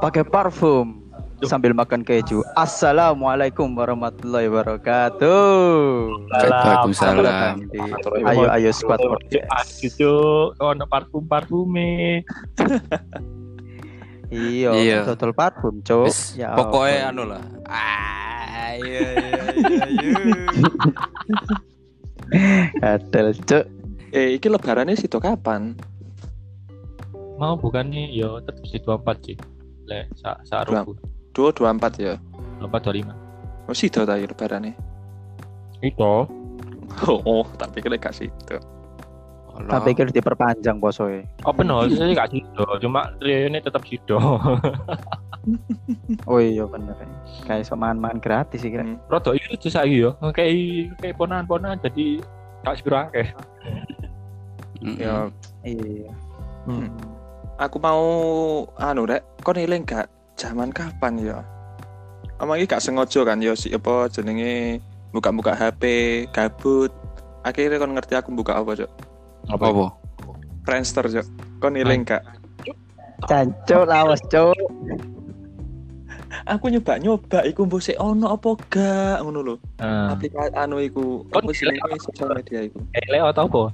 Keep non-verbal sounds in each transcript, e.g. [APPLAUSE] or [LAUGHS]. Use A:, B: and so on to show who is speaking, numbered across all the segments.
A: pakai parfum sambil makan keju. Assalamualaikum warahmatullahi wabarakatuh.
B: Waalaikumsalam.
A: Ayo ayo squad podcast.
C: Gitu, ono parfum parfume.
A: Iya,
B: Iya.
A: total parfum, Cuk.
B: Wis,
A: Ya
B: pokoknya
A: ampun.
B: anu lah. Ah, iya, Ayo, ayo,
A: Gatel, Cuk.
D: Eh, iki lebarannya situ kapan?
C: Mau bukan nih, yo tetap si 24 sih. Le, sa sa
D: Dua-
C: rupu.
D: 224 ya.
C: 24 25.
D: Oh, situ ta ya lebarane.
C: Itu.
D: Oh, [LAUGHS] oh, tak pikir gak situ.
A: Tak pikir diperpanjang posoe.
C: Open house sih gak sido, cuma trio ini tetap sido. [LAUGHS]
A: Oh iya bener. Kayak iso makan-makan gratis iki.
D: Hmm.
C: Rodo itu tuh saya yo, kayak kayak ponan ponan jadi gak sepira akeh.
B: Ya,
D: Ya,
A: Iya.
D: Hmm. aku mau anu rek, kon eling gak zaman kapan ya? Emang iki gak sengaja kan ya si apa jenenge buka-buka HP, gabut. Akhirnya kon ngerti aku buka apa, Cok?
B: apa?
D: Friendster, Cok. Kon eling gak?
A: Cancuk lawas, Cuk.
D: Aku nyoba-nyoba iku mbok sik ono apa gak ngono lho.
C: Nah,
D: Aplikasi anu iku,
C: Kon
D: apa jenenge sosial media iku?
C: eh, layout apa?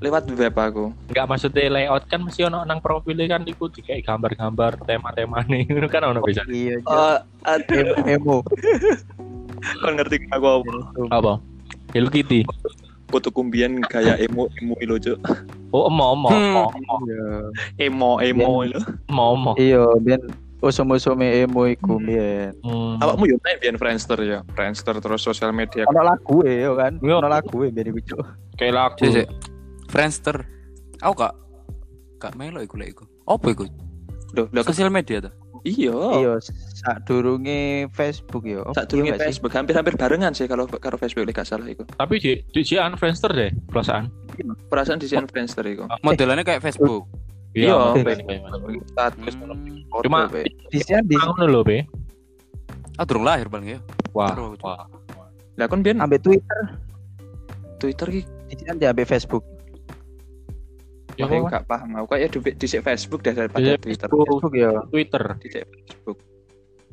D: Lewat web aku.
C: Enggak maksudnya layout kan mesti ono nang profile kan iku kayak gambar-gambar tema-tema [LAUGHS] nih, itu kan ono bisa.
A: Iya,
B: Oh.
A: Cuk.
D: Eh, aduh,
A: Emo, emo.
D: kon ngerti gak aku apa?
C: Apa? Hello Kitty.
D: foto kumbian gaya emo emo ilo cuk
C: Oh, emo emo
B: Hmm.
C: emo
A: Iya.
D: emo emo ilo
C: emo emo.
A: Iya, ben usum-usume emo iku biyen.
C: Hmm.
D: awakmu yo nek biyen Friendster ya Friendster terus sosial media
A: Ono lagu e yo kan.
C: Iya.
A: Ono lagu e biyen iku, Cuk.
C: Kayak lagu.
B: Sik, sik. Friendster. Aku gak gak melo iku lek iku. Apa iku?
D: lho lho kes-
B: Sosial media tuh.
D: iya
A: Iya, sadurunge Facebook yo. Iya
D: sak durunge
A: gak sih?
D: Facebook hampir-hampir barengan sih kalau karo Facebook lek gak salah iku
C: Tapi di di si Friendster deh, perasaan.
D: perasaan di Friendster iku
B: Modelannya kayak Facebook.
D: Iya.
C: kayak- kayak- kayak-
D: status
B: Hmm.
C: Oh,
D: foto,
C: Cuma-
D: weh.
A: Disian di
C: Bangun dulu, Be.
B: Ah, durung lahir bang ya.
C: Wah,
B: Baru-
C: wah.
D: lah kon biyen
A: ambek Twitter,
D: Twitter ki
A: disian di ambek Facebook.
C: Ya,
D: wah, aku
C: kan?
D: gak paham aku kayak di dhisik Facebook dah daripada
C: Dhisik
D: Twitter
C: Facebook.
A: Facebook yo.
C: Twitter.
D: dhisik Facebook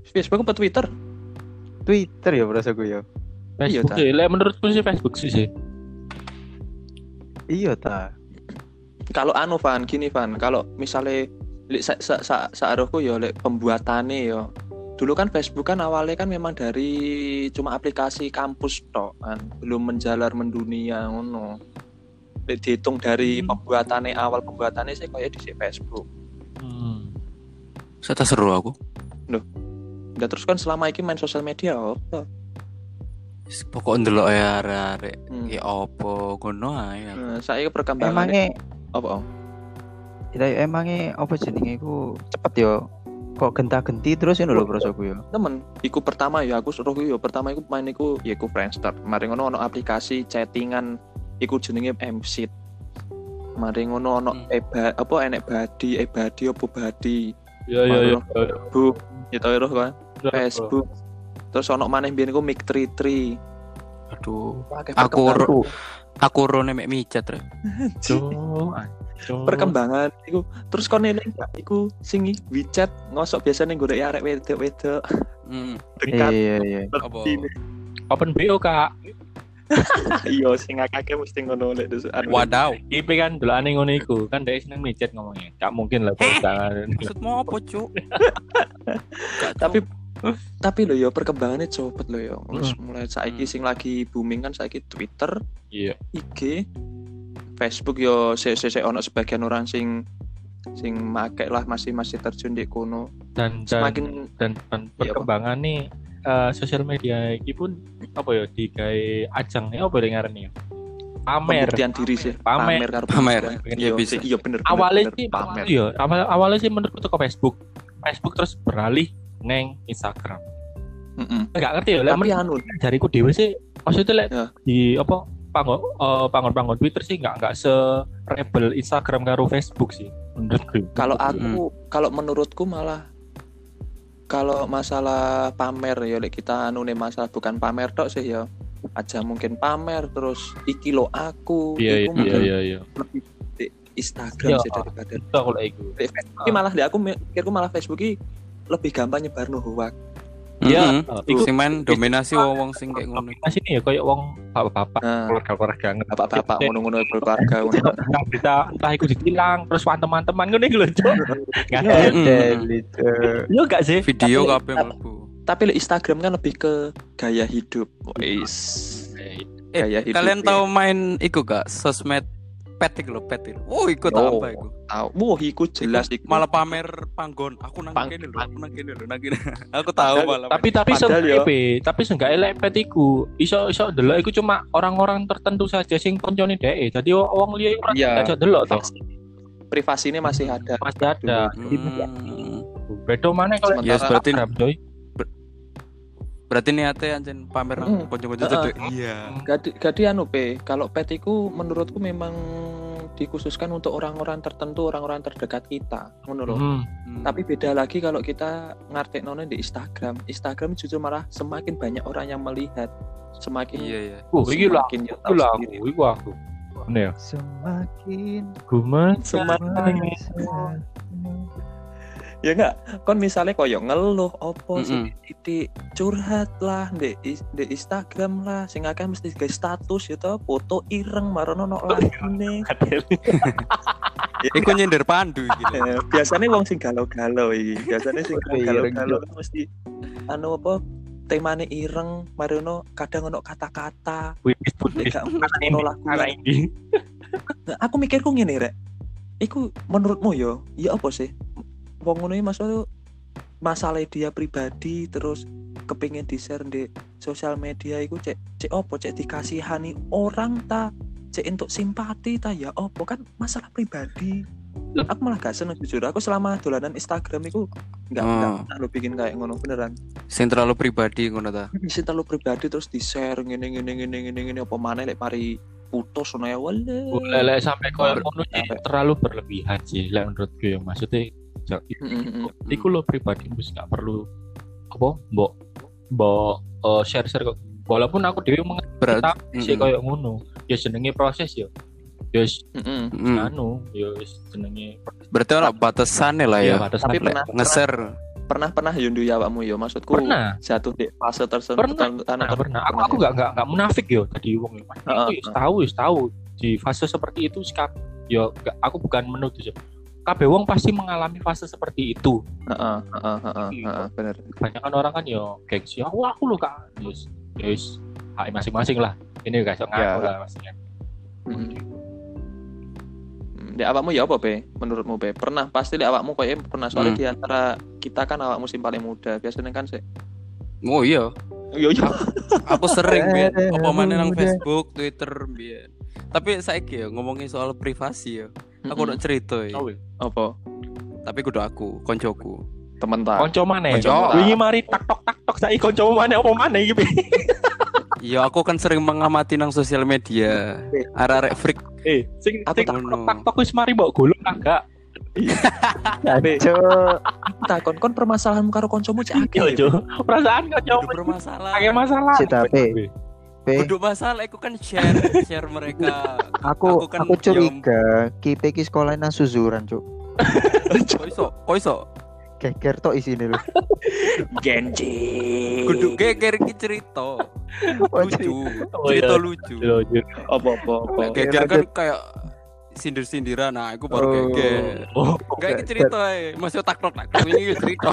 D: Facebook apa Twitter
A: Twitter ya berasa gue yo.
D: Iya,
C: Facebook
D: ta.
C: sih. Lah menurutku sih Facebook sih sih.
A: Iya ta.
D: kalau anu Van gini Van kalau misalnya lek sa sa sa saaruhku ya lek pembuatane ya dulu kan Facebook kan awalnya kan memang dari cuma aplikasi kampus tok kan belum menjalar mendunia ngono lek dihitung dari
C: Hmm.
D: pembuatane awal pembuatane sih kayak di Facebook
C: Hmm.
B: Saya tak seru aku.
D: dan terus kan selama ini main sosial media oh, apa
B: Wis, Pokok ndelok ya arek-arek.
D: hmm.
B: Ya opo ngono ae. aku.
D: Nah, saya perkembangannya
A: Emangnya
D: apa Om?
A: Lah, emangnya apa jenenge iku cepet yo. Kok genta-genti terus ini lho berasa gue yo.
D: temen iku pertama ya aku suruh yo pertama iku main iku ya iku Friendster mari ngono ono aplikasi chattingan iku jenenge MC mari ngono ono
B: Hmm.
D: eba apa enek badi ebadi apa badi
C: Iya, iya, iya.
D: bu ya tau roh kan Facebook terus ono maneh biyen iku mic tri tri
B: Aduh.
D: Pakai
B: Aku
D: perkembangan-
B: ro- aku rone mek micat rek.
C: Aduh,
D: perkembangan iku terus kon eling gak iku singi WeChat ngosok biasanya golek arek wedok-wedok
B: Hmm.
D: dekat
A: Iya iya.
B: Apa?
C: Open BO, Kak.
D: iya sing akeh mesti ngono lek desukan.
B: Wadaw.
C: IP kan dulu aneh ngono iku kan dia seneng micet ngomongnya gak mungkin
D: Eh!
C: lah
B: Heh.
C: perusahaan
B: Maksudmu apa, Cuk? Gak tau.
D: tapi tapi lo yo perkembangannya cepet lo yo Terus
C: Mm.
D: mulai saiki
B: Mm.
D: sing lagi booming kan saiki Twitter
C: iya
D: IG Facebook yo se se se ono sebagian orang sing sing make lah masih masih terjun di kono
C: dan dan
D: semakin Iya,
C: dan, dan perkembangan nih eh, sosial media ini pun apa ya digawe ajang ya apa yang ngarani ya pamer
D: pembuktian diri sih
C: Pamer.
D: pamer karo
B: Pamer.
D: pembuktian.
B: Iya,
D: Yo,
B: bisa.
D: sih, iya bener bener,
C: awalnya
D: bener,
C: sih
D: pamer
C: awalnya- iya awal awalnya sih menurutku tuh ke Facebook Facebook terus beralih neng Instagram
D: Mm-mm.
C: nggak ngerti ya lah
D: tapi
C: menurut
D: anu
C: jariku dewe sih maksudnya lek
D: Ya.
C: di apa panggon panggon panggon Twitter sih nggak nggak se rebel Instagram karo Facebook sih menurutku
D: kalau aku
C: Hmm.
D: kalau menurutku malah kalau masalah pamer ya lek kita anu nih masalah bukan pamer tok sih ya aja mungkin pamer terus iki lo aku
C: iya iya
D: iku mungkin
C: iya iya
D: lebih di- Instagram
C: Iya.
D: sih daripada
C: Itu kalau iku.
D: Lek Facebook iki malah lek aku mikirku malah Facebook iki lebih gampang nyebar no hoax.
C: Iya,
B: Mm-mm.
C: iku
B: Sing main dominasi wong-wong sing kayak [LAUGHS] ngono.
C: Nah, sini ya kayak wong bapak-bapak
D: Nah,
C: keluarga-keluarga ngerti.
D: bapak-bapak ngono-ngono keluarga ngono.
C: Entah berita entah iku ditilang terus wantem-manteman ngono iku lho.
D: [LAUGHS]
C: Cok.
A: iya.
C: Nggak ada.
B: Mm-mm.
C: Yo gak sih?
B: Video
D: Tapi-
B: kabeh mlebu.
D: Tapi lek Instagram kan lebih ke gaya hidup. Wis.
B: Eh,
D: Gaya hidup.
B: Kalian
D: ya.
B: tahu main iku gak sosmed pet iku lho, pet iku. Oh, iku tak
D: Yo.
B: apa iku.
D: tahu. Wah, iku jelas iku.
B: Malah pamer panggon. Aku nang
E: Pang-
B: kene lho, aku nang kene lho, nang kene. Aku tahu
D: Padahal-
B: malah.
C: tapi tapi
D: Padahal
C: seenggaknya
D: ya.
C: Be, tapi seenggaknya lek pet iku iso iso delok iku cuma orang-orang tertentu saja sing koncone dhek jadi wong liya iku ora
D: Iya.
C: gak iso delok toh
D: privasi ini masih ada.
C: masih ada
B: [LAUGHS] Hmm.
C: Jadi, bedo mana kalau
B: Iya, Yes,
D: Sementara-
B: berarti
C: Instagram coy
B: berarti niatnya anjen pamer nang
D: Mm.
B: konco-konco
D: Heeh.
B: cedek. Iya.
D: Gadi, gadi anu pe, kalau pet iku menurutku memang dikhususkan untuk orang-orang tertentu, orang-orang terdekat kita, ngono lho.
C: Hmm.
B: Hmm.
D: Tapi beda lagi kalau kita ngartek di Instagram. Instagram justru malah semakin banyak orang yang melihat, semakin
B: iya ya.
C: Uh, iki lho
D: semakin ya
C: aku
D: tahu
C: lho aku
D: sendiri.
C: iku aku Ini ya,
A: Semakin
C: gumen
D: Semakin ya enggak, kon misalnya koyo ngeluh opo sih
B: Mm-mm.
D: titik curhat lah di, di Instagram lah sing akeh mesti guys status ya toh, foto ireng marono no lagune.
C: [LAUGHS]
B: Iku nyender pandu iki. lho.
D: Eh, biasanya wong sing galau-galau iki. Biasanya sing
A: Foto ireng,
D: galau-galau itu mesti anu apa temane ireng marono kadang ono kata-kata
C: wis pun
D: Lek gak
C: anak ini
D: ono lagu
C: anak ini
D: Nah, aku mikirku ngene rek. Iku menurutmu yo, ya apa sih? Wong ngono iki maksudku masalah dia pribadi terus kepingin di-share di sosial media iku cek cek opo cek dikasihani orang ta cek untuk simpati ta ya opo kan masalah pribadi aku malah gak seneng jujur aku selama dolanan Instagram iku nggak
B: Hmm.
D: nggak pernah lo bikin kayak ngono beneran
B: Sing terlalu pribadi ngono ta.
D: sih terlalu pribadi terus di share ngene ngene ngene ngene ngene apa mana lek mari putus ngono ya
C: Oh,
D: wale
C: lek lek sampai koyo ngono sih,
D: Sampai.
C: terlalu berlebihan sih lek menurutku ya maksudnya ja- iku lo pribadi wis gak perlu apa mbok mbok share share kok walaupun aku dewi mengerti
B: Berarti
C: sih
B: Mm-mm.
C: kayak ngono ya jenenge proses ya ya wis
D: Heeh.
B: Mm.
C: anu ya wis jenenge
B: Berarti ono batasannya lah ya.
C: batas
D: tapi
C: sampai-
D: pernah-
B: Ngeser.
D: pernah pernah yundu ya awakmu yo maksudku
C: pernah
D: jatuh di fase tertentu
C: Pernah,
D: tan- tanah
C: pernah,
D: ter-
C: pernah. aku
D: pernah
C: aku
D: ya?
C: gak gak gak munafik yo tadi wong ya Mas.
D: Heeh,
C: Aku wis tahu wis tahu di fase seperti itu sikap yo gak- aku bukan menuduh sih kabeh wong pasti mengalami fase seperti itu
D: Heeh, heeh, heeh, heeh, bener
C: kebanyakan orang kan yo gengsi aku aku lo kak terus terus hak masing-masing lah ini gak sok ngaku
E: Ya.
C: lah pastinya Hmm.
D: Mm. di awakmu ya apa pe menurutmu pe pernah pasti di awakmu kayaknya pernah soalnya
B: Hmm.
D: di antara kita kan awakmu sing paling muda biasanya kan sih
B: Oh iya.
D: yo yo
B: aku sering biar
A: Eh,
B: apa mana nang
A: udah.
B: Facebook, Twitter biar. Tapi saiki ya ngomongin soal privasi ya. Aku udah cerita ya.
C: Tahu ya?
D: apa
B: Tapi kudu aku, koncoku.
D: temen tak
C: konco mana
B: Konco.
C: wingi mari tak tok tak tok saiki konco mana apa mana iki Bi?
B: Iya, aku kan sering mengamati nang sosial media. Arek-arek freak
C: eh sing
D: Aku
C: sing tak
B: tak-
C: tok tak tok wis mari mbok gulung agak
D: takon kon permasalahanmu karo kancamu cek akeh
C: yo jo perasaan
B: kudu
C: konco
B: bermasalah.
C: akeh masalah
A: Cita, Bi. Pe,
B: Kudu masalah aku kan share share mereka.
A: aku
B: aku kan
A: aku
B: yang-
A: curiga kipe ki sekolah nang suzuran cuk
B: Kok iso? Kok iso?
A: geger tok isine lho
D: genji
B: Kudu geger iki cerita. Lucu.
C: Oh, iya.
B: Cerita lucu.
C: Yo, jo.
D: [LAUGHS] apa apa apa
B: Nek geger kan kayak sindir-sindiran nah aku baru
A: Oh.
B: geger.
C: Oh,
B: Enggak iki cerita ae. Masih tak tok tak tok ini cerita.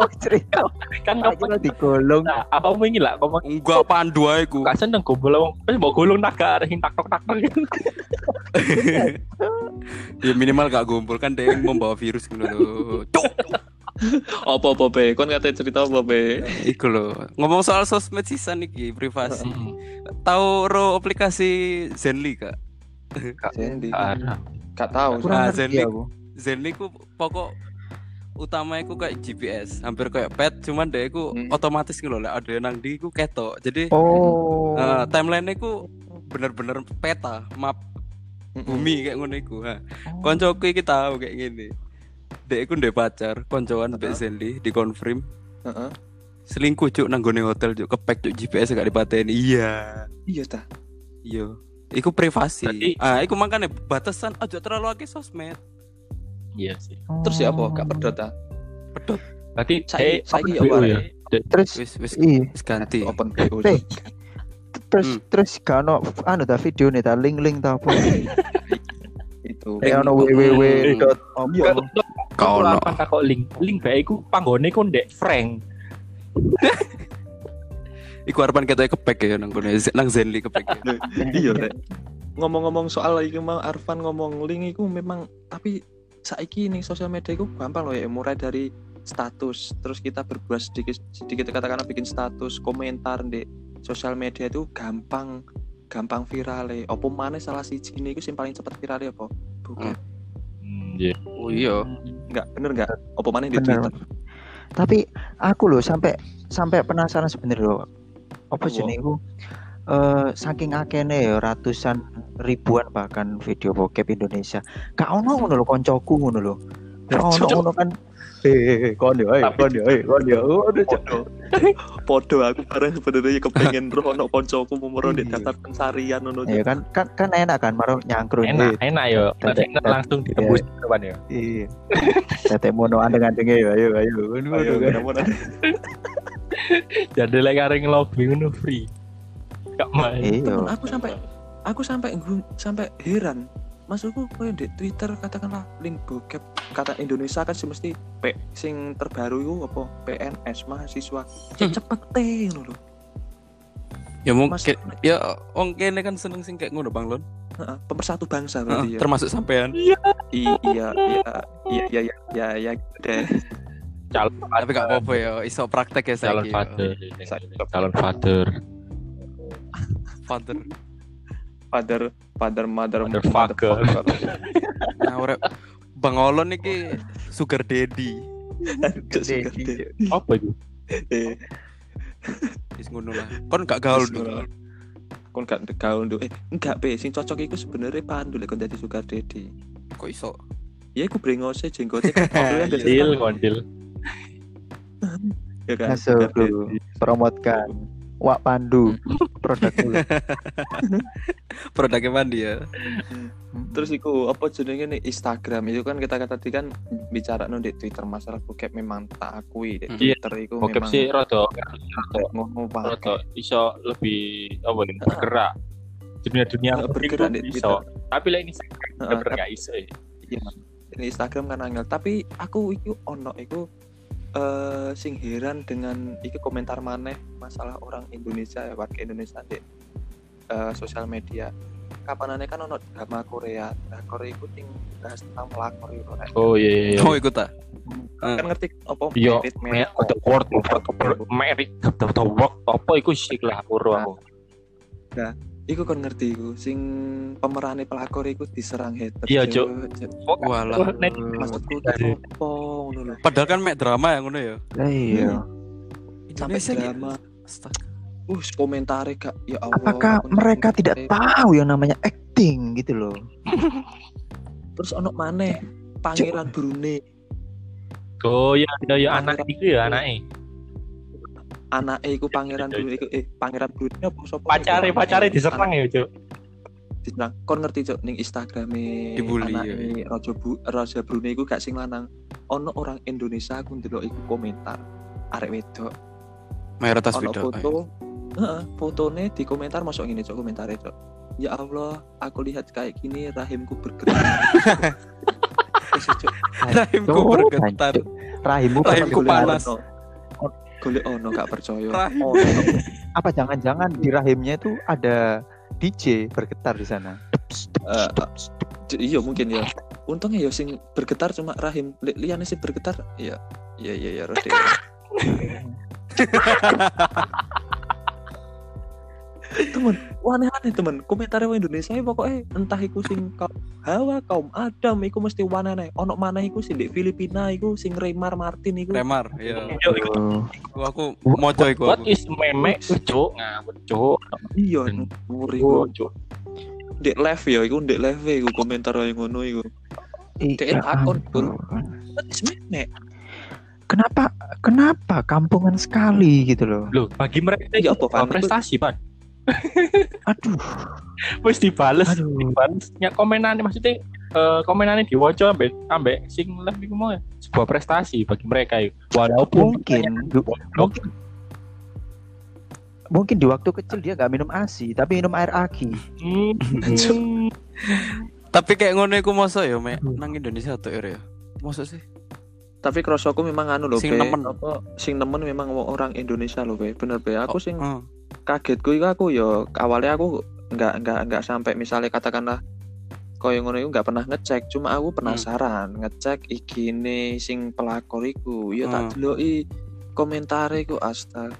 A: oh cerita
C: kan
A: kira
C: kapan
A: digolong
C: Nah, apa mau ingin lah ngomong
B: Enggak pandu ae ku.
C: gak seneng gombol wong wis mbok gulung tak gak areng tak tok tak tok gitu.
B: ya minimal gak gombol kan dia yang membawa virus gitu loh Cuk!
D: apa apa pe kon kate cerita apa pe
B: iku loh ngomong soal sosmed sisan iki privasi tahu ro aplikasi Zenly kak
A: Zenly.
C: Ada.
D: gak tahu
B: Kurang-
A: kurang ngerti
B: Zenly.
A: aku
B: Zenly ku pokok utama iku kayak GPS hampir kayak pet cuman dia ku
D: Hmm.
B: otomatis gitu loh ada yang nang di ku ketok jadi
A: oh
B: eh,
D: Ah,
B: timeline-nya ku bener-bener peta map
D: Hmm.
A: Hmm.
B: bumi kayak ngono iku ha koncoku iki tahu kayak gini dia ku ndek pacar koncoan mbek Zenly di confirm
D: Heeh.
B: selingkuh cuk nang gone hotel cuk kepek cuk GPS gak dipateni iya
D: iya ta
B: iya Iku privasi.
C: Berarti-
B: Ah, iku makanya batasan aja terlalu akeh sosmed.
C: Iya sih.
A: Oh.
D: Terus ya apa? Gak pedot ta?
B: Pedot
C: Berarti
D: Saiki
C: eh,
D: saiki ya
C: apa
D: apa?
C: ya?
D: Rek?
A: Terus
B: wis wis
A: iya.
B: wis ganti.
D: Open BO.
A: Eh, terus
B: Hmm.
A: terus gak ono anu ta video nih ta link-link ta
D: [LAUGHS]
A: apa.
D: Itu.
A: Kayak ono
B: Link.
A: www. dot
C: Iya,
A: apa.
C: kok-
B: Kau
C: kok
B: no.
C: apa tak kok link link bae iku panggone kon ndek Frank.
B: Iku harapan kita kepek ya nang kono nang Zenly kepek. ya.
D: Iya, Rek. Ngomong-ngomong soal iki mau Arfan ngomong link iku memang tapi saiki ning sosial media iku gampang loh ya mulai dari status terus kita berbuat sedikit sedikit katakanlah bikin status komentar di sosial media itu gampang gampang viral ya. opo mana salah si ini itu sing paling cepat viral ya apa bukan
C: Hmm, iya.
B: Oh iya.
D: nggak bener nggak opo mana di
A: Bener.
D: twitter
A: Tapi aku loh sampai sampai penasaran sebenarnya loh. Apa
D: Apa?
A: jenenge iku? Eh saking akene ya ratusan ribuan bahkan video bokep Indonesia. Gak ono ngono lho koncoku ngono lho. Gak ono
D: Cocok.
A: ngono kan. Eh, kon yo, eh, kon yo, eh, kon yo. Waduh, cok.
D: podo podo aku bareng sebenarnya ya kepengen roh ono koncoku memeron di daftar pencarian ono
A: Ya kan, kan kan enak kan maro nyangkrung.
C: Enak, enak ya.
A: Tadi-
C: Enak langsung ditembus depan ya.
A: Iya. Tete mono andeng-andenge ya ayo ayo. Ngono
D: ayo
A: kan.
D: bener-bener.
C: Jadi lek areng lobby ngono free. Gak main.
A: Iya.
D: temen aku sampai aku sampai nggu- sampai heran maksudku kau di Twitter katakanlah link bokep kata Indonesia kan sih mesti P sing terbaru itu apa PNS mahasiswa ya
B: Hmm.
D: cepet teh lho
B: Ya
D: mas
B: mungkin ya wong kene kan seneng sing kayak ngono Bang Lon.
D: Heeh, pemersatu
B: Ah,
D: bangsa berarti ya
B: Termasuk sampean.
D: I- iya iya iya iya iya iya iya gitu deh
C: Calon
B: Tapi gak apa-apa ya, iso praktek ya
C: calon
B: saiki. ya.
C: father. iya,
D: Saiki.
C: Calon father.
B: Father.
D: father father mother
C: Motherfucker.
B: Nah, ora Bang Olon iki sugar daddy. [LAUGHS]
A: Iya,
D: Cuk, sugar daddy.
C: Apa itu?
B: Iya,
D: Eh,
B: Wis ngono lah. Kon gak gaul
D: Wis ngono
B: dulu.
D: lah. kon gak gaul nduk. eh enggak be sing cocok iku sebenarnya pandu lek kon dadi sugar daddy
B: Kok iso?
D: ya aku brengose
B: [LAUGHS]
D: jenggotnya kan
B: Iya.
D: kan
C: Kondil, kondil.
D: ya kan
A: Masuk
D: Sugar
A: dulu. Promotkan. Wak
D: [LAUGHS]
A: Pandu produk dulu.
B: Produknya mandi ya.
A: [LAUGHS]
D: terus iku apa jenenge nih Instagram itu kan kita kata tadi kan bicara no di Twitter masalah bokep memang tak akui di
B: Hmm.
C: Iya.
D: Twitter itu
C: Bokep
D: memang
C: sih rada rada
D: ngomong
C: rada iso lebih apa ya bergerak. Dunia-dunia
D: Heeh,
C: mungkin
D: bergerak di
C: iso. Tapi lek ini saya bener gak iso ya.
D: di Iya. Instagram kan angel tapi aku itu ono itu eh sing heran dengan iki komentar maneh masalah orang Indonesia ya warga Indonesia di eh, sosial media kapanane kan ono drama Korea drakor itu ting bahas tentang pelakor itu kan
C: Oh iya iya.
B: Oh ikut ta.
C: Hmm.
D: Kan ngerti apa
C: Yo,
D: merit, merit,
C: Merit the word merit the word apa iku sih lah uru aku.
D: Iku kon ngerti iku sing pemerane pelakor iku diserang hater.
C: Iya, Cuk.
B: Walah.
C: Wah, nek-
D: Maksudku
C: Dari-
D: apa ngono lho.
B: Padahal kan mek drama yang ngono ya.
A: Lah iya.
D: Sampai
B: Indonesia ki-
D: drama.
B: Astaga.
D: Uh, komentare gak ya Allah.
A: Apakah
D: aku e.
A: mereka
D: ngerti.
A: tidak tahu yang namanya acting gitu loh?
D: Terus ono maneh Pangeran Brunei
C: Oh iya iya iya anak iku ya anake.
D: anake iku Pangeran Brunei iku eh Pangeran Brunei apa sapa?
C: Pacare
D: Iku?
C: pacare diserang ya, Cuk.
D: diserang. Kon ngerti cok ning Instagrame
B: Dibully,
D: anake
B: ya,
D: Raja Bu Raja Brunei iku gak sing lanang. Ono orang Indonesia aku ndelok iku komentar arek wedok
B: Mayoritas
D: ono
B: video.
D: foto heeh fotone di komentar masuk gini cok komentar itu ya Allah aku lihat kayak gini rahimku bergetar
B: [LAUGHS]
D: Wes, Cok,
B: Rahimku
A: Tuh,
B: bergetar.
A: Cuk. Oh, Rahimmu
B: Rahimku
A: pernah
D: golek
A: [LAUGHS] keluar.
B: panas.
D: ono. golek ono gak percaya
B: Rahim.
D: Ono.
A: Oh, Apa jangan-jangan di rahimnya itu ada DJ bergetar di sana?
D: Eh, Cok, iya mungkin ya untungnya ya sing bergetar cuma rahim Li- liane sing bergetar ya ya ya ya Rode. temen wah aneh aneh temen komentarnya wong Indonesia ini pokoknya entah iku sing kaum Hawa kaum Adam iku mesti wana aneh ono mana iku sing di Filipina iku sing Remar Martin iku
B: Remar, ya.
C: Yo iku
A: Oh.
B: Aku, aku moco iku
C: What
B: aku.
C: is meme Cuk? Ngawur Cuk.
D: iya
C: Hmm.
D: muri
C: Oh,
D: iku
C: Cuk.
D: di live ya iku di live iku komentar yang ngono iku
A: Iya,
D: Dia akun,
A: ampun.
D: What is meme?
A: Kenapa kenapa kampungan sekali gitu loh?
C: Loh, bagi mereka
D: Iya,
C: itu
D: apa, Pan?
C: prestasi, Pan.
A: Aduh,
C: wis dibales
A: Aduh.
C: dibales ya komenannya maksudnya eh komenannya diwaca ambek ambek sing live iku mau ya. sebuah prestasi bagi mereka yuk. walaupun
A: mungkin
C: goblok.
A: mungkin di waktu kecil dia nggak minum ASI, tapi minum air aki.
C: Hmm.
B: Tapi kayak ngono iku masa ya, Mek,
D: Hmm.
B: nang Indonesia tuh ya. Masa sih?
D: Tapi krosoku memang anu lho,
B: Sing
D: Be.
B: nemen.
D: Apa, sing nemen memang orang Indonesia lho, Be. Bener, Be. Aku sing
B: Heeh.
D: kagetku itu aku yo awalnya aku nggak nggak nggak sampai misalnya katakanlah koyo ngono iku nggak pernah ngecek cuma aku penasaran ngecek igine sing pelakor iku yo
B: Hmm.
D: tak deloki komentare iku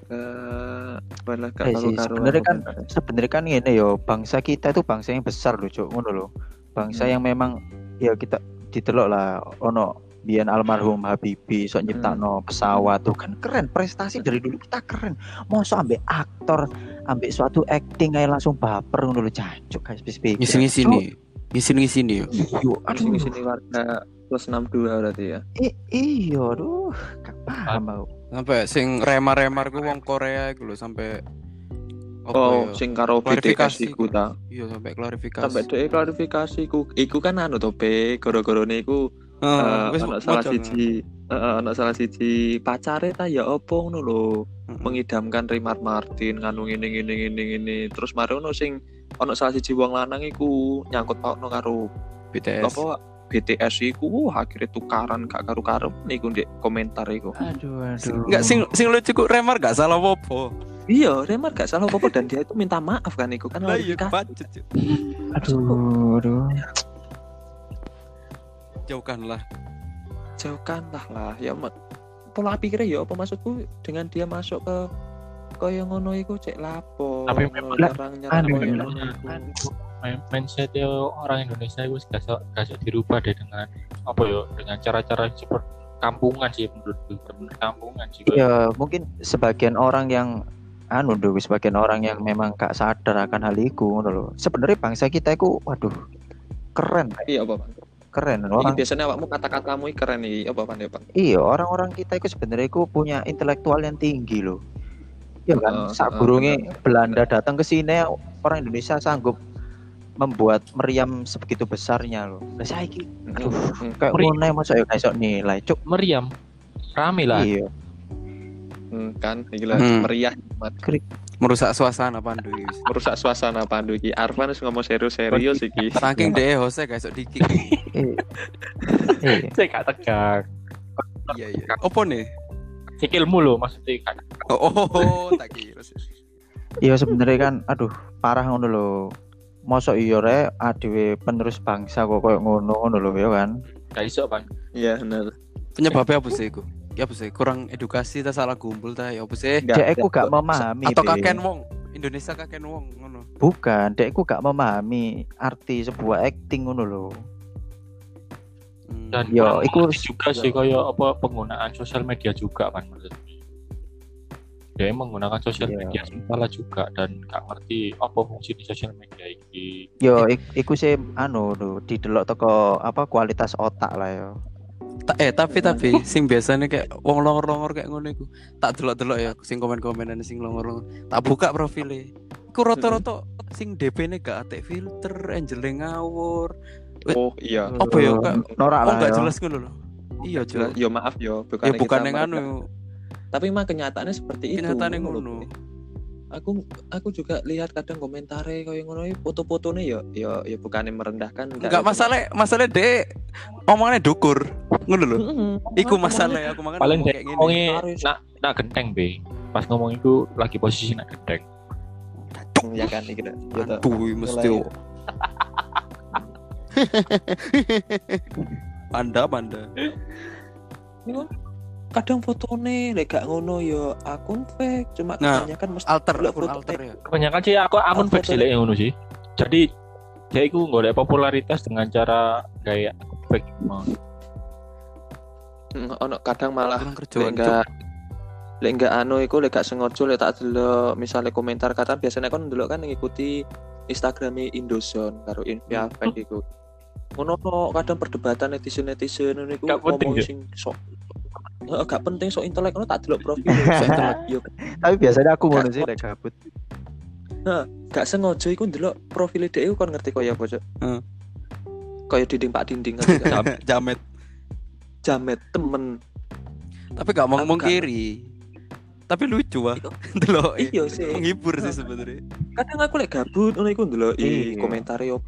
D: astaga malah gak
A: Eh, sih,
D: karu-karuan
A: sebenarnya kan-
D: komentare.
A: Sebenarnya kan ini yo bangsa kita itu bangsa yang besar loh, Cuk. Ngono loh. Bangsa yang memang ya kita ditelok lah ono Bian almarhum Habibie sok nyiptakno pesawat tuh kan keren prestasi dari dulu kita keren mosok ambek aktor ambek suatu acting kayak langsung baper ngono lho jancuk guys bis bis
B: Ngisi-ngisi nih. Ngisi-ngisi nih. yo.
A: iyo
D: Terus
A: aduh
D: sini warga plus 62 berarti ya
A: I- iyo aduh gak paham aku
B: Sampai sing remar-remar ku wong Korea iku lho sampai apa
D: oh
B: ya?
D: sing karo
B: Klarifikasi.
D: BTS iku ta
B: Iya, sampai klarifikasi.
D: sampai dhek klarifikasi iku iku kan anu to be gara-garane iku
B: Heeh,
D: Eh,
B: wis
D: anak salah
B: mojong.
D: siji eh, anak salah siji pacare ta ya opo ngono lho
B: Mm-mm.
D: mengidamkan Rimar Martin nganu ngene ngene ngene ngene terus mari ono sing ono salah siji wong lanang iku nyangkut pautno karo
B: BTS.
D: apa BTS iku wah akhirnya tukaran gak karu-karu niku ndek komentar iku
A: aduh aduh
B: Sing- Enggak sing sing lucu kok remar gak salah apa-apa.
D: iya Rimar gak salah apa-apa dan dia itu minta maaf kan iku kan
B: Lah iya
D: klarifikasi.
B: pacet. Cuk.
A: aduh aduh
B: Jauhkanlah.
D: jauhkanlah lah ya mak pola pikirnya ya apa maksudku dengan dia masuk ke kaya ngono iku cek lapo
C: Tapi memang-
D: ngono, nyerang nyerang
A: Aduh,
D: kaya
A: iya.
D: ngono iku.
C: mindset ya, orang Indonesia itu gak gak dirubah deh dengan apa ya dengan cara-cara seperti kampungan sih menurutku bener kampungan sih
A: ya mungkin sebagian orang yang anu dulu sebagian orang yang memang gak sadar akan hal itu ngono lho. sebenarnya bangsa kita itu waduh keren
D: iya apa Pak?
A: keren
D: Iki
A: orang
D: biasanya awakmu kata-katamu iki keren iki apa Pak, ya Pak?
A: iya orang-orang kita itu sebenarnya itu punya intelektual yang tinggi loh ya
D: Oh,
A: kan saat
D: oh,
A: burungnya
D: benar.
A: Belanda datang ke sini orang Indonesia sanggup membuat meriam sebegitu besarnya loh nah, saya Aduh,
D: Mm,
A: kayak
C: Meriam.
A: ngono masa ya kayak nilai cuk
C: meriam rame lah
A: iya
D: mm, kan iki lah
B: Hmm.
D: meriah Mat.
B: Merusak suasana pandu iki.
D: merusak suasana pandu iki Arvan wis ngomong serius-serius
B: [LAUGHS]
D: iki
B: Saking deh Jose guys sok dikik.
A: eh, eh.
C: [LAUGHS] saya gak tegang
B: Iya iya. Opo nih?
C: sikilmu loh maksudnya gak
B: Oh, oh, [LAUGHS] oh, tak kira. sih.
A: Iya sebenarnya kan, aduh parah ngono lho. Mosok iya rek adewe penerus bangsa kok koyo ngono ngono lho ya kan.
C: gak iso bang
D: iya bener
B: Penyebabnya apa sih iku? Ya apa sih? Kurang edukasi ta salah gumpul ta ya apa sih?
A: Dek aku gak memahami.
B: Atau
A: Be.
B: kaken wong Indonesia kaken wong ngono.
A: Bukan, dek aku gak memahami arti sebuah acting ngono lho.
B: Hmm.
C: dan
A: Yo, Iya,
C: kurang
A: iku-
C: mengerti juga sih kaya apa penggunaan sosial media juga kan menurut dia menggunakan sosial
A: Iya.
C: media salah juga dan gak ngerti apa fungsi di sosial media ini
A: Yo
B: Eh.
A: ik- iku sih anu lho, didelok teko apa kualitas otak lah yo.
B: Ta- eh tapi tapi sing biasanya kayak wong longor-longor kayak ngono iku. Tak delok-delok ya sing komen-komenan sing longor-longor. Tak buka profile. Iku rata-rata sing DP-ne gak atek filter, anjling ngawur.
D: oh iya
B: Apa ya kak?
A: Norak
B: Oh
A: lah
B: gak
A: yo.
B: jelas ngono lho. Iya jelas.
D: yo maaf yo bukan
B: Ya bukan yang anu,
D: tapi mah kenyataannya seperti itu
B: kenyataannya
D: ngono lho,
B: ngono.
D: Be. aku aku juga lihat kadang komentare kaya ngono iki, foto-fotone ya ya ya bukannya merendahkan
B: Enggak
D: ya,
B: masalah, masalah deh omongannya dukur. Ngono lho.
D: cuma- Mm-mm.
B: Iku masalah aku makan
C: paling
B: Kan ngomong
C: dia
B: gini.
C: ngomongnya nak nak genteng be pas ngomong itu lagi posisi nak genteng
D: Mm, ya kan iki lho. Ya, toh.
B: Aduh, mesti.
D: Mulai.
B: oh. Anda, Anda.
D: kadang fotone lek gak ngono ya akun fake cuma
B: Nah,
D: kebanyakan mesti
B: Alter,
D: Delok
B: akun
D: foto
B: alter ya.
C: kebanyakan sih aku akun
D: Apa
C: vape
D: tuh?
C: cilik yang ngono sih jadi dia itu golek popularitas dengan cara kayak vape
B: Ah.
D: Mm, ono kadang malah
B: Kurang
D: lek
B: kerjaan. [LAUGHS] Cuk.
D: gak lek gak anu iku lek gak sengaja lek tak delok misale komentar kata biasanya kan delok kan ngikuti Instagrame Indoson karo Inviafek iku ngono kok kadang perdebatan netizen-netizen ngono iku
C: Gak penting, ya?
D: ngomong sing sok Heeh, gak penting sok intelek ngono tak delok profil sok
A: Tapi biasanya aku ngono sih lek gabut.
D: gak sengaja iku ndelok profile dhek iku kon ngerti koyo apa, Cuk?
B: Heeh.
D: Koyo dinding Pak Dinding ngerti gak?
B: [LAUGHS]
C: Jam-
B: jamet
D: jamet temen.
B: tapi gak mau
D: Aku gak-
B: mengkiri tapi lucu [LAUGHS] wah delok
D: Iya sih.
B: menghibur sih sebenarnya
D: Kadang aku lek gabut ngono iku ndelok i
A: Iya.
D: komentare yo.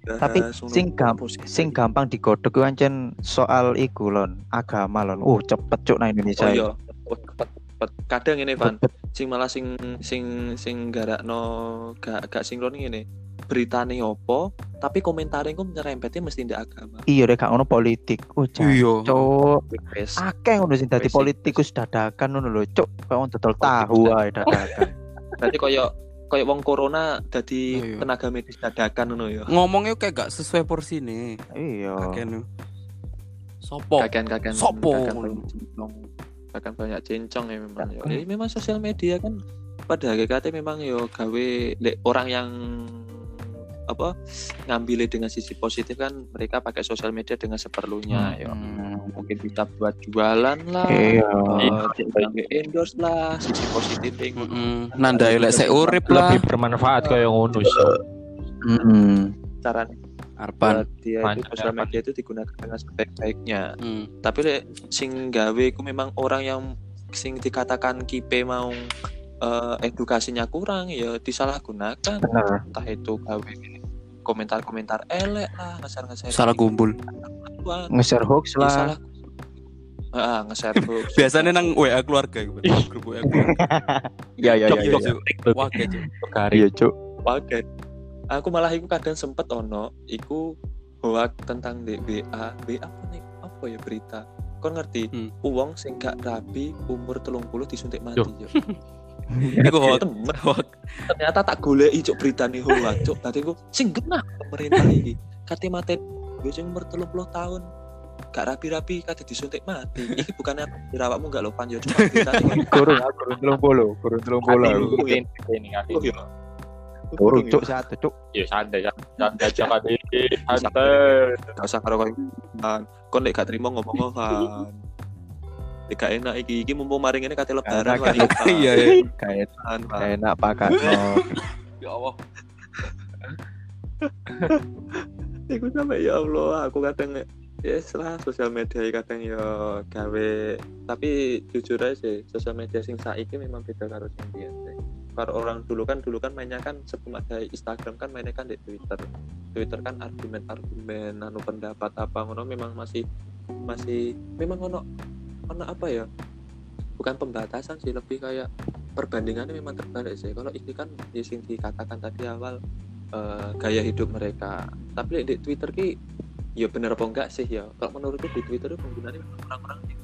A: Tapi
D: eh,
A: sing gam- sing gampang digodhog ku ancen soal iku lon, agama lon. Uh, cepet cuk nang Indonesia.
D: Oh
A: iki.
D: iya. Oh, cepet, cepet. Kadang ini Van, sing malah sing sing sing garakno gak gak sinkron ngene. Beritane opo, tapi komentare ku nyerempetnya mesti ndak agama.
A: Iya rek gak ono politik. Uh, cuk.
B: iya
D: Wes.
A: Akeh ngono sing dadi
D: Wes,
A: politikus dadakan ngono lho, cuk. Kayak wong dodol ya, tahu [LAUGHS]
D: Politikus
A: ae dadakan.
D: Berarti koyo koyo wong corona dadi
B: Oh, iya.
D: tenaga medis dadakan ngono ya.
B: ngomongnya kayak gak sesuai porsi nih
A: Iya.
B: kakek Oh. sopo
D: Kakean-kakean
B: Sopo?
D: kakean banyak cincong. Kakean banyak cincong ya memang ya. Ini memang sosial media kan pada hakikatnya memang yo gawe lek orang yang apa ngambil dengan sisi positif kan mereka pakai sosial media dengan seperlunya ya.
B: Hmm.
D: Mungkin kita buat jualan lah.
A: Iya.
D: eh, dia ngambil endorse lah sisi positif yang
B: Mm-mm. nandai lek sek urip lah
C: lebih bermanfaat
B: Ah.
C: kayak ngono sih.
A: Heeh.
D: cara
B: arpan
D: buat dia itu
C: Pan.
D: sosial media itu digunakan dengan sebaik-baiknya
B: Mm.
D: tapi lek sing gawe ku memang orang yang sing dikatakan kipe mau eh, edukasinya kurang ya disalahgunakan
A: Bener.
D: entah itu gawe komentar-komentar elek lah ngeser-nser
B: salah gumpul
D: gua
A: Nge-share hoax lah.
D: Iya, salah Heeh,
B: [LAUGHS]
D: ngeser hoax.
B: biasanya nang WA keluarga [LAUGHS] gitu grup WA keluarga
A: Iya
B: ya,
A: iya iya.
C: Jok, jok,
A: iya.
C: jok.
B: wah gitu. kecil
C: Garing.
A: Iya, cuk.
D: Waget. aku malah iku kadang sempet ono iku hoax tentang DBA BA apa nih apa ya berita kon ngerti
B: Hmm.
D: uang sing gak rabi umur telung puluh disuntik mati
C: Yo.
D: yo.
B: Iku hoax.
D: Gitu, Temen. ternyata tak golek cuk berita nih hoax cuk tadi gue sing genah pemerintah ini kate mate gue sing umur 30 tahun gak rapi-rapi kate disuntik mati ini bukannya aku dirawatmu gak lo panjo cuma berita
A: [LAUGHS]
D: ini
A: Kurun aku kurun telung puluh, kurun telung puluh.
D: Aduh.
A: aku.
D: Iya.
C: Ini ngerti.
D: Oh, iya.
A: Kurun cuk satu cuk.
C: Ya santai santai aja kan
D: gak usah karo koyo kan kon lek gak terima ngomong kan Lek gak enak iki iki mumpung maring ini kate lebaran
A: Gak
D: Kan, lah iya Pan.
B: iya ya
A: [LAUGHS] Kayak
D: Pan, Pan.
A: enak [LAUGHS] pakatno.
B: ya Allah
D: Iku sampe ya Allah, aku kadang ya lah sosial media iki kadang ya gawe tapi jujur aja sih sosial media sing saiki memang beda karo sing biasa. Karo orang dulu kan dulu kan mainnya kan sebelum ada Instagram kan mainnya kan di Twitter. Twitter kan argumen-argumen anu pendapat apa ngono memang masih masih memang ono ono apa ya? Bukan pembatasan sih lebih kayak perbandingannya memang terbalik sih. Kalau ini kan ya sing dikatakan tadi awal eh, gaya hidup mereka tapi di Twitter ki ya bener apa enggak sih ya kalau menurutku di Twitter itu penggunanya memang orang-orang yang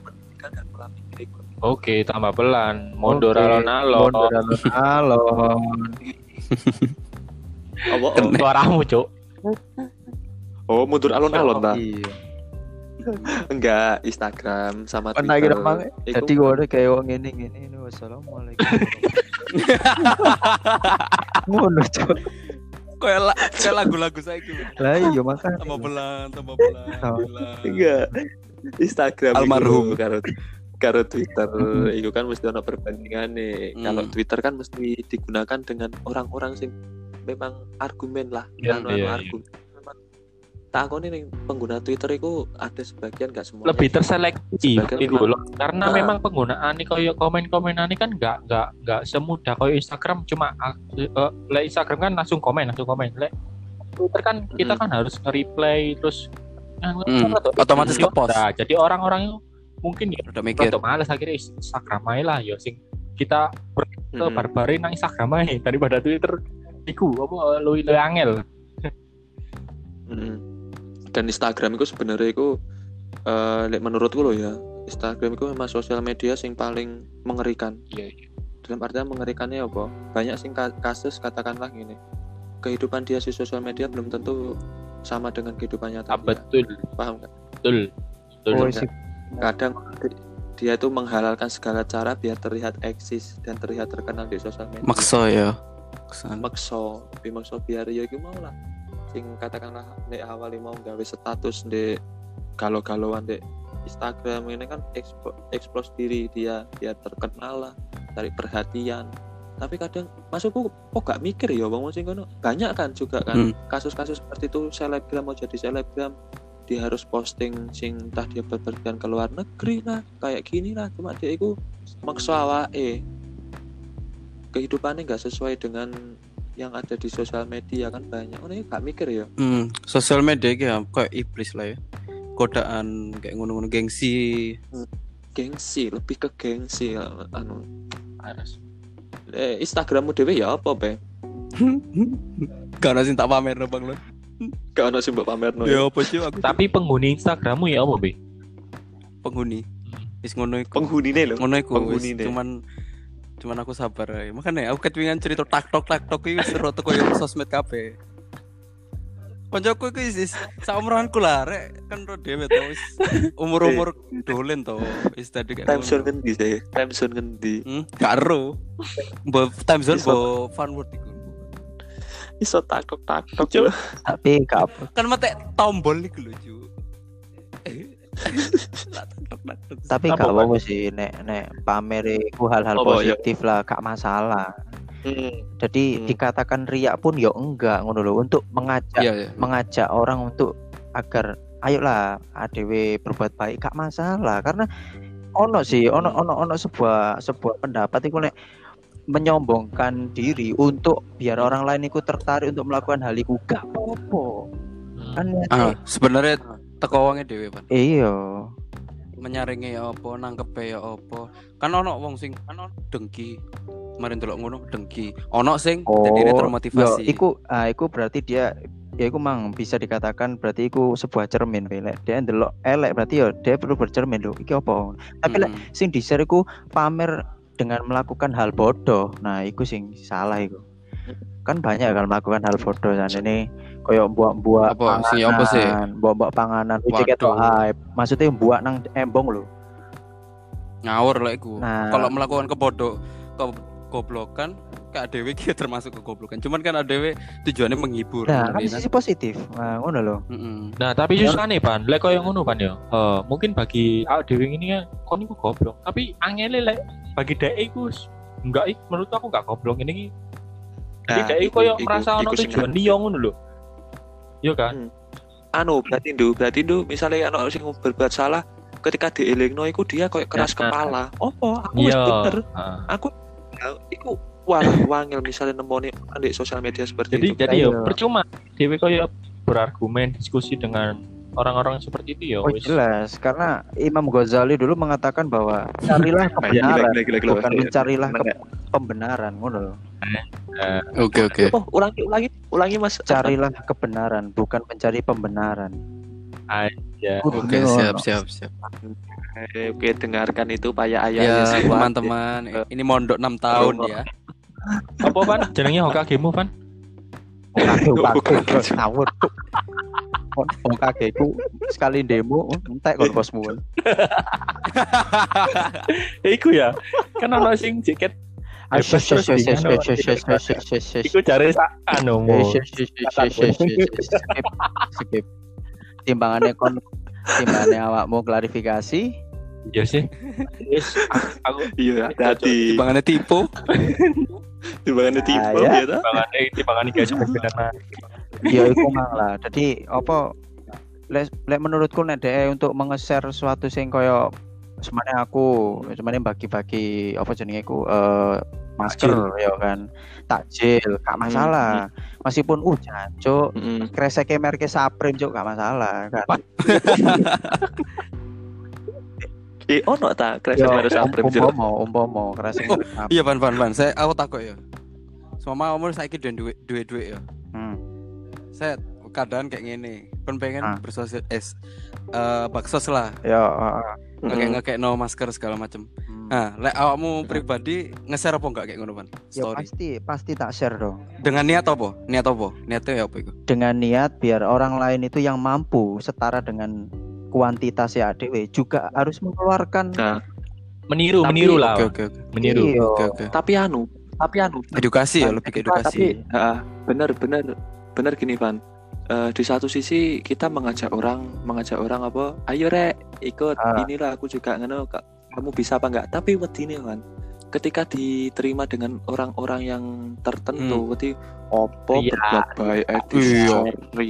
D: pendidikan dan pola pikir ekonomi.
C: Oke, tambah pelan. Mundur
A: Oke,
C: alon-alon.
A: mundur alon-alon.
D: oh, oh,
B: Kena.
C: Suaramu, Cuk.
D: oh, oh, mundur alon-alon ta
A: Iya.
D: enggak Instagram sama
A: Pernah
D: Twitter
A: kira mang,
D: Iku-
A: jadi gue ada kayak wong ini gini ini [LAUGHS] wassalamualaikum. Ngono cuk.
B: kayak la- kayak lagu-lagu saya gitu
A: Lah iya makan.
B: tambah pelan tambah pelan
A: Tambah
B: pelan.
D: enggak Instagram iku
B: Almarhum.
D: karo karo Twitter
C: Hmm.
A: Mm.
D: itu kan mesti ada perbandingan nih
B: Mm.
D: kalau Twitter kan mesti digunakan dengan orang-orang sing memang argumen lah
C: Iya,
D: anu-anu
C: iya, iya.
D: argumen memang tak aku nih pengguna Twitter itu ada sebagian gak semua
C: Lebih terseleksi
D: Sebagai
C: iku lho. Karena
D: Nah.
C: memang penggunaan iki koyo komen-komenan iki kan enggak enggak enggak semudah koyo Instagram cuma eh, lek Instagram kan langsung komen, langsung komen. Lek Twitter kan kita
D: Mm.
C: kan harus nge-reply terus kan
B: Mm. Otomatis nge-post. Iya.
C: Nah, Jadi orang-orang itu mungkin ya
B: udah mikir
C: untuk males akhirnya Instagram aja lah ya sing kita ke
D: Mm-mm.
C: barbare nang Instagram aja [LAUGHS] daripada Twitter iku apa luwi luwi angel
D: Mm. Dan Instagram itu sebenarnya itu eh, lek menurutku loh ya, Instagram itu memang sosial media sing paling mengerikan.
C: Iya,
D: Dalam artian mengerikannya apa? Banyak sing ka- kasus katakanlah gini. Kehidupan dia di sosial media belum tentu sama dengan kehidupannya
C: Ah,
D: tadi.
C: betul
D: Paham nggak?
C: betul betul
A: Oh,
D: enggak?
A: sip.
D: Kadang di- dia itu menghalalkan segala cara biar terlihat eksis dan terlihat terkenal di sosial media.
B: maksa ya Kesana.
D: makso tapi makso biar ya iki mau lah sing katakanlah nek awal mau gawe status di galau-galauan di Instagram ini kan ekspo, eksplos diri dia biar terkenal lah cari perhatian tapi kadang maksudku kok gak mikir ya wong sing kono banyak kan juga kan
B: Hmm.
D: kasus-kasus seperti itu selebgram mau jadi selebgram dia harus posting sing entah dia berpergian ke luar negeri lah kayak gini lah cuma dia itu maksa awake kehidupannya nggak sesuai dengan yang ada di sosial media kan banyak oh ini gak mikir ya
B: Hmm, sosial media iki ya kayak iblis lah ya. Godaan kayak ngono-ngono gengsi.
D: gengsi lebih ke gengsi ya, anu
C: harus
D: eh, Instagrammu dewe ya apa be
B: Gak ada sing tak pamer Bang Lon.
D: gak ada sih mbak
A: Oh,
D: pamerno
B: Ya
A: iya.
D: ya
B: apa sih aku
C: tapi penghuni Instagrammu ya apa Hmm. be
B: penghuni. Wis ngono iku.
D: penghunine loh
B: Ngono iku wis.
D: penghuni deh.
B: Cuman cuman aku sabar ae. Makane aku ketwingan cerita tak tok tak tok iki wis roto koyo sosmed kabeh. Koncoku iku wis wis saumuranku lah rek kan ro dhewe to wis umur-umur dolen to wis tadi kayak
D: Iya. time
B: ngono.
D: zone ngendi saya time zone ngendi
B: Hmm, gak ero. Mbok time zone
D: Iso.
B: mbok fanword iku.
D: iso takok takok yo
A: tapi gak apa
B: Kan mate tombol iku lho, Ju.
D: [LAUGHS]
B: Tak tok, tak tok.
A: tapi
C: Apa,
A: gak
C: Pak?
A: apa-apa sih nek nek pamer iku hal-hal
D: Apa, ya?
A: positif lah gak masalah
D: hmm.
A: jadi
D: Hmm.
A: dikatakan riak pun ya enggak ngono loh untuk
D: ya.
A: mengajak
B: Iya, iya.
A: mengajak orang untuk agar ayolah ADW berbuat baik gak masalah karena ono sih ono ono ono sebuah sebuah pendapat itu nek menyombongkan diri untuk biar orang lain itu tertarik untuk melakukan hal itu gak apa-apa kan
B: Ah, sebenarnya teko wonge dhewe, Pan.
A: iya
B: Menyaringi ya apa, nangkepe ya apa. Kan ono wong sing kan ono dengki. Kemarin delok ngono dengki. Ono sing dadine
A: yo, Oh,
B: termotivasi.
A: iku ah, iku berarti dia ya iku mang bisa dikatakan berarti iku sebuah cermin Wi. Lek dia ndelok elek berarti yo dia perlu bercermin lho iki apa tapi lek
B: Mm-mm.
A: sing di-share iku pamer dengan melakukan hal bodoh nah iku sing salah iku kan banyak kan melakukan hal bodoh kan ini koyo buak-buak
B: Apa, sing apa sih?
A: buak-buak panganan wih, ceket
B: Waduh.
A: hype maksudnya buak nang embong lho
B: ngawur lah iku.
A: Nah.
B: Kalau melakukan kebodoh ke- goblokan Kak Dewi kia [LAUGHS] termasuk kegoblokan. Cuman kan Dewi tujuannya menghibur.
A: nah kan
B: ngerti, kan?
A: sisi positif nah, ngono lho
B: Mm-mm.
C: nah tapi susah nih pan lek yang ngono pan ya Eh, mungkin bagi awak dewi ini ya kau niku goblok tapi angele lek bagi dek iku s- enggak ik menurut aku enggak goblok ini
D: Nah,
C: jadi dek Nah, iku yang merasa ono tujuan liya ngono lho iya kan
D: anu berarti ndu berarti ndu misalnya ono sing berbuat salah ketika dielingno iku dia koyo keras
C: Nah.
D: kepala opo aku wis
C: iya
D: bener
C: Ah.
D: aku Nah, iku wah wangil misalnya nemoni di sosial media seperti
C: jadi
D: itu
C: jadi ya
A: Ayo.
C: percuma dewi kau ya berargumen diskusi dengan orang-orang seperti itu ya
A: Oh
C: wis.
A: jelas, karena Imam Ghazali dulu mengatakan bahwa carilah
D: Nah,
A: kebenaran, ya? bukan mencarilah ke- pembenaran, ngono loh.
B: Oke oke.
D: oh ulangi ulangi ulangi mas
A: Carilah kebenaran, bukan mencari pembenaran.
C: Ya.
A: Kudu
B: Oke
A: ngono.
B: siap siap siap.
D: Eh, oke dengarkan itu pak ya
A: Iya,
B: Ya
D: ayah
B: teman-teman, ini mondok 6 tahun ya.
C: apa pan jenenge Hokage mu pan
A: Aduh, kaget, bos, ngawur. Kok kok kagetku sekali demo entek kon bosmu.
C: iku [LAUGHS] ya kan ono sing jaket
A: Asyik, asyik, asyik, asyik, asyik, asyik, asyik, asyik, asyik.
C: iku jare sak anu mu
A: Eh, shh, shh, shh, shh, shh, shh, shh, skip, skip. Timbangannya kon timbangannya awakmu klarifikasi
C: iya sih wis aku
D: iya hati-hati
B: Timbangannya tipu.
D: timbangannya
A: Ah,
D: tipe
A: ya.
D: ya toh?
C: bangane iki bangane guys benar
A: ya iku mang lah jadi apa lek lek menurutku nek dhek untuk menge-share suatu sing kaya semane aku semane bagi-bagi apa jenenge iku eh masker ya kan takjil gak masalah meskipun uh jancuk
D: Mm.
A: kreseke merke Saprim cuk gak masalah kan
D: eh ono ta kresek
A: Yo,
D: harus
A: um-
D: aprim Jero.
A: umpama umpama kresek
B: [LAUGHS] Iya pan pan pan. Saya aku takut ya. Semama umur saya kira duit duit duit ya.
A: Hmm.
B: Saya keadaan kayak gini. Kan pengen
A: Ah.
B: bersosial es eh baksos lah.
A: ya heeh.
D: Mm.
B: Kayak ngekek no masker segala macam.
A: Hmm.
B: Nah, lek awakmu pribadi nge-share apa enggak kayak ngono pan?
A: ya
B: Story.
A: pasti pasti tak share dong
B: Dengan niat apa? Niat apa? Niatnya ya apa itu?
A: dengan niat biar orang lain itu yang mampu setara dengan kuantitasnya ADW juga harus mengeluarkan
D: Nah,
C: meniru
D: Tapi-
C: meniru lah
B: Oke oke oke.
C: meniru
A: Iya.
B: Oke oke.
D: tapi anu tapi anu
B: Edukasi ya lebih ke edukasi.
D: tapi ah, benar benar benar gini Van Eh, di satu sisi kita mengajak orang mengajak orang apa ayo rek ikut
A: Ah.
D: inilah aku juga ngono Kak. kamu bisa apa enggak tapi wedine Van ketika diterima dengan orang-orang yang tertentu berarti opo
C: Iya.
D: berbuat baik
B: Iya.
D: editor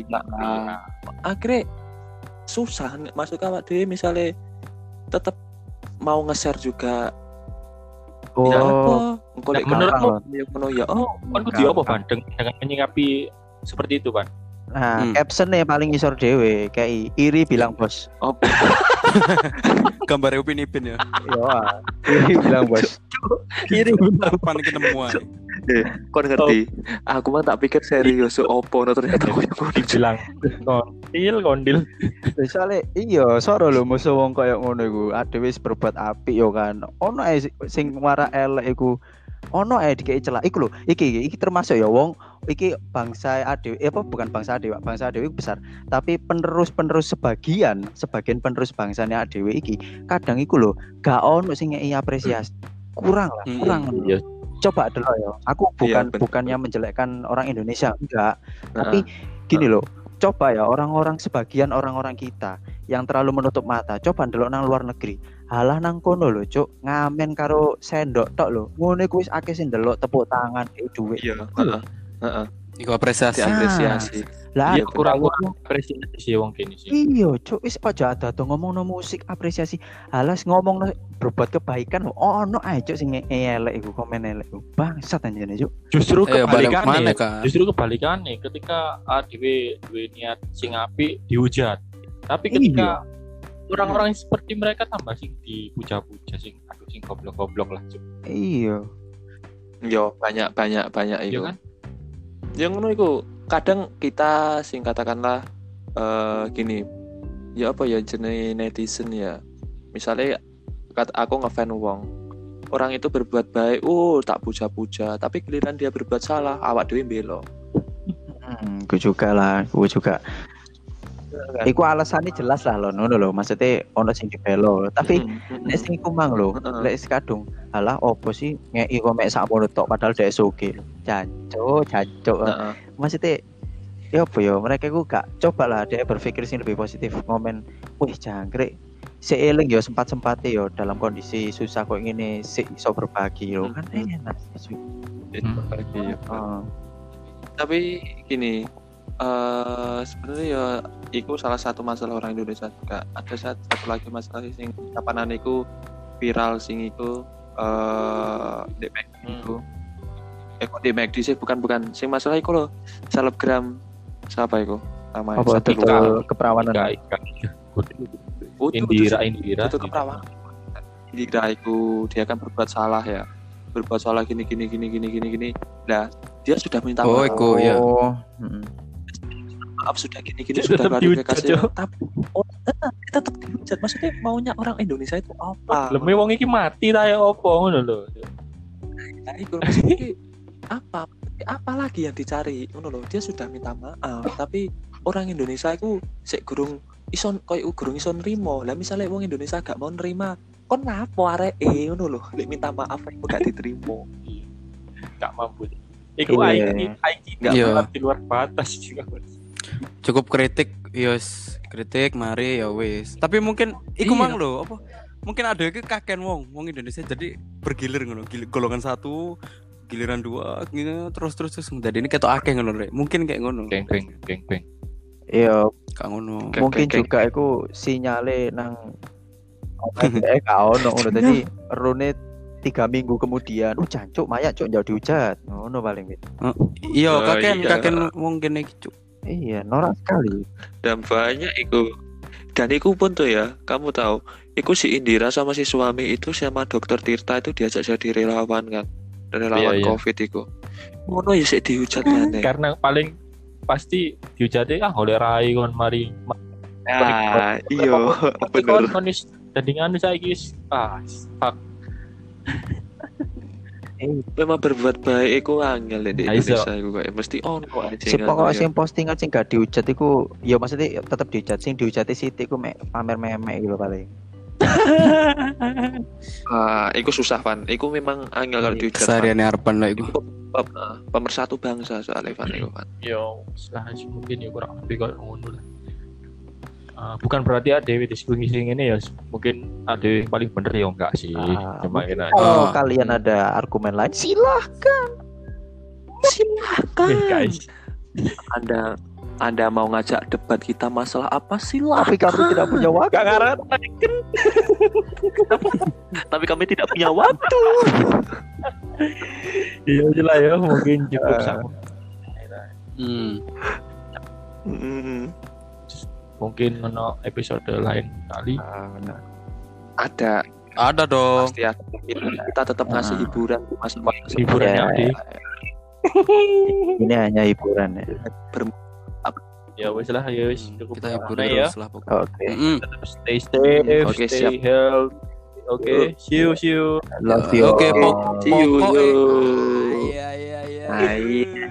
D: akhirnya susah masuk awak dhewe misalnya tetap mau nge-share juga ya apa
A: Oh,
D: engko
C: Nah,
D: lek
C: menurutmu-
D: gampang, ya ngono ya oh
C: kan kudu apa Pan? Deng- dengan menyikapi seperti itu Pan
A: nah
B: Hmm.
A: captionnya paling ngisor dewe kayak iri bilang bos.
D: opo
B: Gambar Upin
A: [LAUGHS]
B: Ipin ya.
A: Yo, ah. iri bilang bos.
C: [LAUGHS]
D: iri
B: Pan iki nemu ae.
C: Oh.
D: kon ngerti aku mah tak pikir serius so opo no ternyata koyo ngono
C: Iya. dibilang kondil kondil
A: Lah, Soalnya iya, soro lho musuh wong kaya ngono iku. Adewe wis berbuat apik yo kan. Ono ae si- sing wara elek iku. Ono ae dikei celah iku lho. Iki iki- iki termasuk ya wong iki bangsa adewe eh, apa bukan bangsa adewe, Pak. bangsa adewe iku besar. Tapi penerus-penerus sebagian, sebagian penerus bangsane adewe iki kadang iku lho gak ono sing ngei apresiasi. Kurang lah,
B: Mm.
A: kurang.
C: Iya.
A: Coba dulu ya. Aku bukan
D: Iya, bener.
A: bukannya menjelekkan orang Indonesia enggak tapi gini loh coba ya orang-orang sebagian orang-orang kita yang terlalu menutup mata coba ndelok nang luar negeri halah nang kono lho cuk ngamen karo sendok tok lho ngono kuis akeh sing ndelok tepuk tangan eh, duit
D: iya heeh heeh
B: Hmm. Iku apresiasi.
D: diapresiasi
A: lah
C: Iya,
A: aku
C: kurang-kurang apresiasi sih wong kene sih
A: Iya, cuk, wis aja ada tuh ngomong musik apresiasi. Alas ngomong berbuat kebaikan, oh no ae cuk sing nge- elek iku komen elek iku. Bangsat anjene cuk.
C: justru
B: Eh, balik
C: kebalikannya
B: mana kan?
C: justru kebalikannya ketika ADW duwe niat sing apik dihujat tapi ketika orang-orang yang seperti mereka tambah sing dipuja-puja sing aduh sing goblok-goblok lah Cuk.
A: Iya.
D: yo banyak banyak banyak
C: Iya
D: itu
C: kan
D: ya ngono iku kadang kita sing katakanlah eh gini ya apa ya jenis netizen ya misalnya kat aku ngefan wong orang itu berbuat baik uh tak puja-puja tapi giliran dia berbuat salah awak dewi belo
A: Hmm, gue juga lah, gue juga. Iku alasannya jelas lah lho, ngono lho. Maksudnya ono sing dibelo, tapi
C: Hmm,
D: Hmm.
A: Nek sing kumang lho,
D: Heeh.
A: lek sekadung, alah opo sih ngeki kok mek sakmono tok padahal dhek soge. Jancuk, jancuk.
C: Nah,
D: Nah.
A: Maksudnya ya apa ya, mereka iku gak coba lah dhek berpikir sing lebih positif, ngomen, wih jangkrik. Seiling ya sempat-sempate ya dalam kondisi susah kok ngene sik iso berbagi yo kan
D: Hmm.
A: enak. Heeh.
D: Oh, tapi gini eh sebenarnya ya itu salah satu masalah orang Indonesia juga ada satu, satu lagi masalah sing kapanan iku viral sing iku eh di McD iku eh kok di McD sih bukan bukan sing masalah iku loh selebgram siapa iku namanya
A: Apa
D: Satu
A: itu
D: luka.
A: keperawanan?
C: Enggak, enggak.
D: Oh, itu- itu
C: Indira
D: sih.
C: Indira
D: itu keperawanan Indira iku dia kan berbuat salah ya berbuat salah gini gini gini gini gini gini nah dia sudah minta
B: Oh,
D: maaf
B: iku ya.
A: Oh, heeh.
D: maaf sudah gini-gini
C: Dia
D: sudah
C: tetap dihujat,
D: klarifikasi
C: Cok.
D: tapi oh, tetap tetap dihujat maksudnya maunya orang Indonesia itu
A: Ah.
D: apa
C: Leme wong iki mati ta ya opo ngono lho.
D: Nah, itu maksudnya apa apa lagi yang dicari ngono loh dia sudah minta maaf tapi orang Indonesia itu sik gurung ison koyo gurung ison nrimo lah misalnya wong Indonesia gak mau nerima kon napo areke ngono loh lek minta maaf kok gak diterima
C: Enggak Iya. mampu. Iku
A: Iya.
C: IT IT enggak
B: Iya.
C: pernah di luar batas [LAUGHS] juga.
B: Cukup kritik, yos kritik, mari ya wis. Tapi mungkin iku
D: Iya.
B: mang lho, apa? Mungkin ada iki kaken wong, wong Indonesia jadi bergilir ngono, gil- golongan satu, giliran dua, gitu, terus terus terus. Jadi ini ketok akeh ngono, Rek. Mungkin kayak ngono.
C: Geng geng geng geng.
A: Iya,
B: Kayak ngono.
D: Oke,
A: mungkin
D: oke, oke.
A: juga iku sinyale nang
D: [LAUGHS]
A: eh gak ono ngono tadi rune tiga minggu kemudian uh jancuk mayat cuk jauh dihujat ngono paling gitu.
B: Iya,
D: Oh,
B: kaken
D: iya.
B: kaken wong kene iki, Cuk.
A: iya norak sekali
D: dan banyak iku dan iku pun tuh ya kamu tahu iku si Indira sama si suami itu sama dokter Tirta itu diajak jadi relawan kan relawan
C: Iya, iya.
D: covid iku ngono ya sik dihujat maneh
C: Karena paling pasti dihujati ah oleh Rai kon mari.
D: nah iya
C: Tapi kon
D: bener
C: kon wis dadi anu saiki wis ah fuck.
D: memang berbuat baik iku angel di
C: Nah, iso.
D: Indonesia iku kayak mesti ono aja
A: si pokok
D: ngono ya.
A: sing postingan sing gak dihujat iku ya maksudnya tetep dihujat sing dihujati Siti iku mek pamer memek gitu paling
D: Ah, iku susah pan iku memang angel kalau dihujat Van.
B: Kesariane arepan lho iku.
D: Iku pem- ah, pemersatu bangsa soalnya Van iku Van
C: Yo, wis lah wis mungkin ya kurang lebih kok ngono lah. Ah, bukan berarti ADW di sing ini ya mungkin ADW yang paling bener ya enggak sih
A: Ah,
C: cuma ini aja
A: Kalau
D: Oh.
B: Ah.
A: kalian ada argumen lain silahkan.
D: Silahkan.
C: Eh, guys
A: kan.
D: Anda Anda mau ngajak debat kita masalah apa silahkan.
A: Tapi kamu tidak punya waktu.
D: Tapi kami tidak punya waktu.
C: iya aja lah ya mungkin cukup
A: Ah.
C: sama
B: Hmm.
D: Mm,
C: mungkin ono episode lain kali
A: Ah, benar.
D: ada
B: Ada dong.
D: pasti ada. Kita tetap ngasih
A: Ah.
D: hiburan masih
C: hiburannya
B: Iya.
A: Ya.
C: di
A: Ini hanya hiburan ya.
C: ya wes lah ya wes
B: Hmm,
C: cukup
B: Kita
C: sampai
B: hibur
C: sana
B: terus lah pokoknya.
A: Oke.
B: Mm-mm.
C: tetap stay safe
D: Oke,
C: stay healthy oke see you see you
A: Love
B: Oke,
A: you.
B: Pok.
D: See you,
B: Pokoknya-
D: yo.
B: Ah, Iya iya iya.
D: Ah, iya.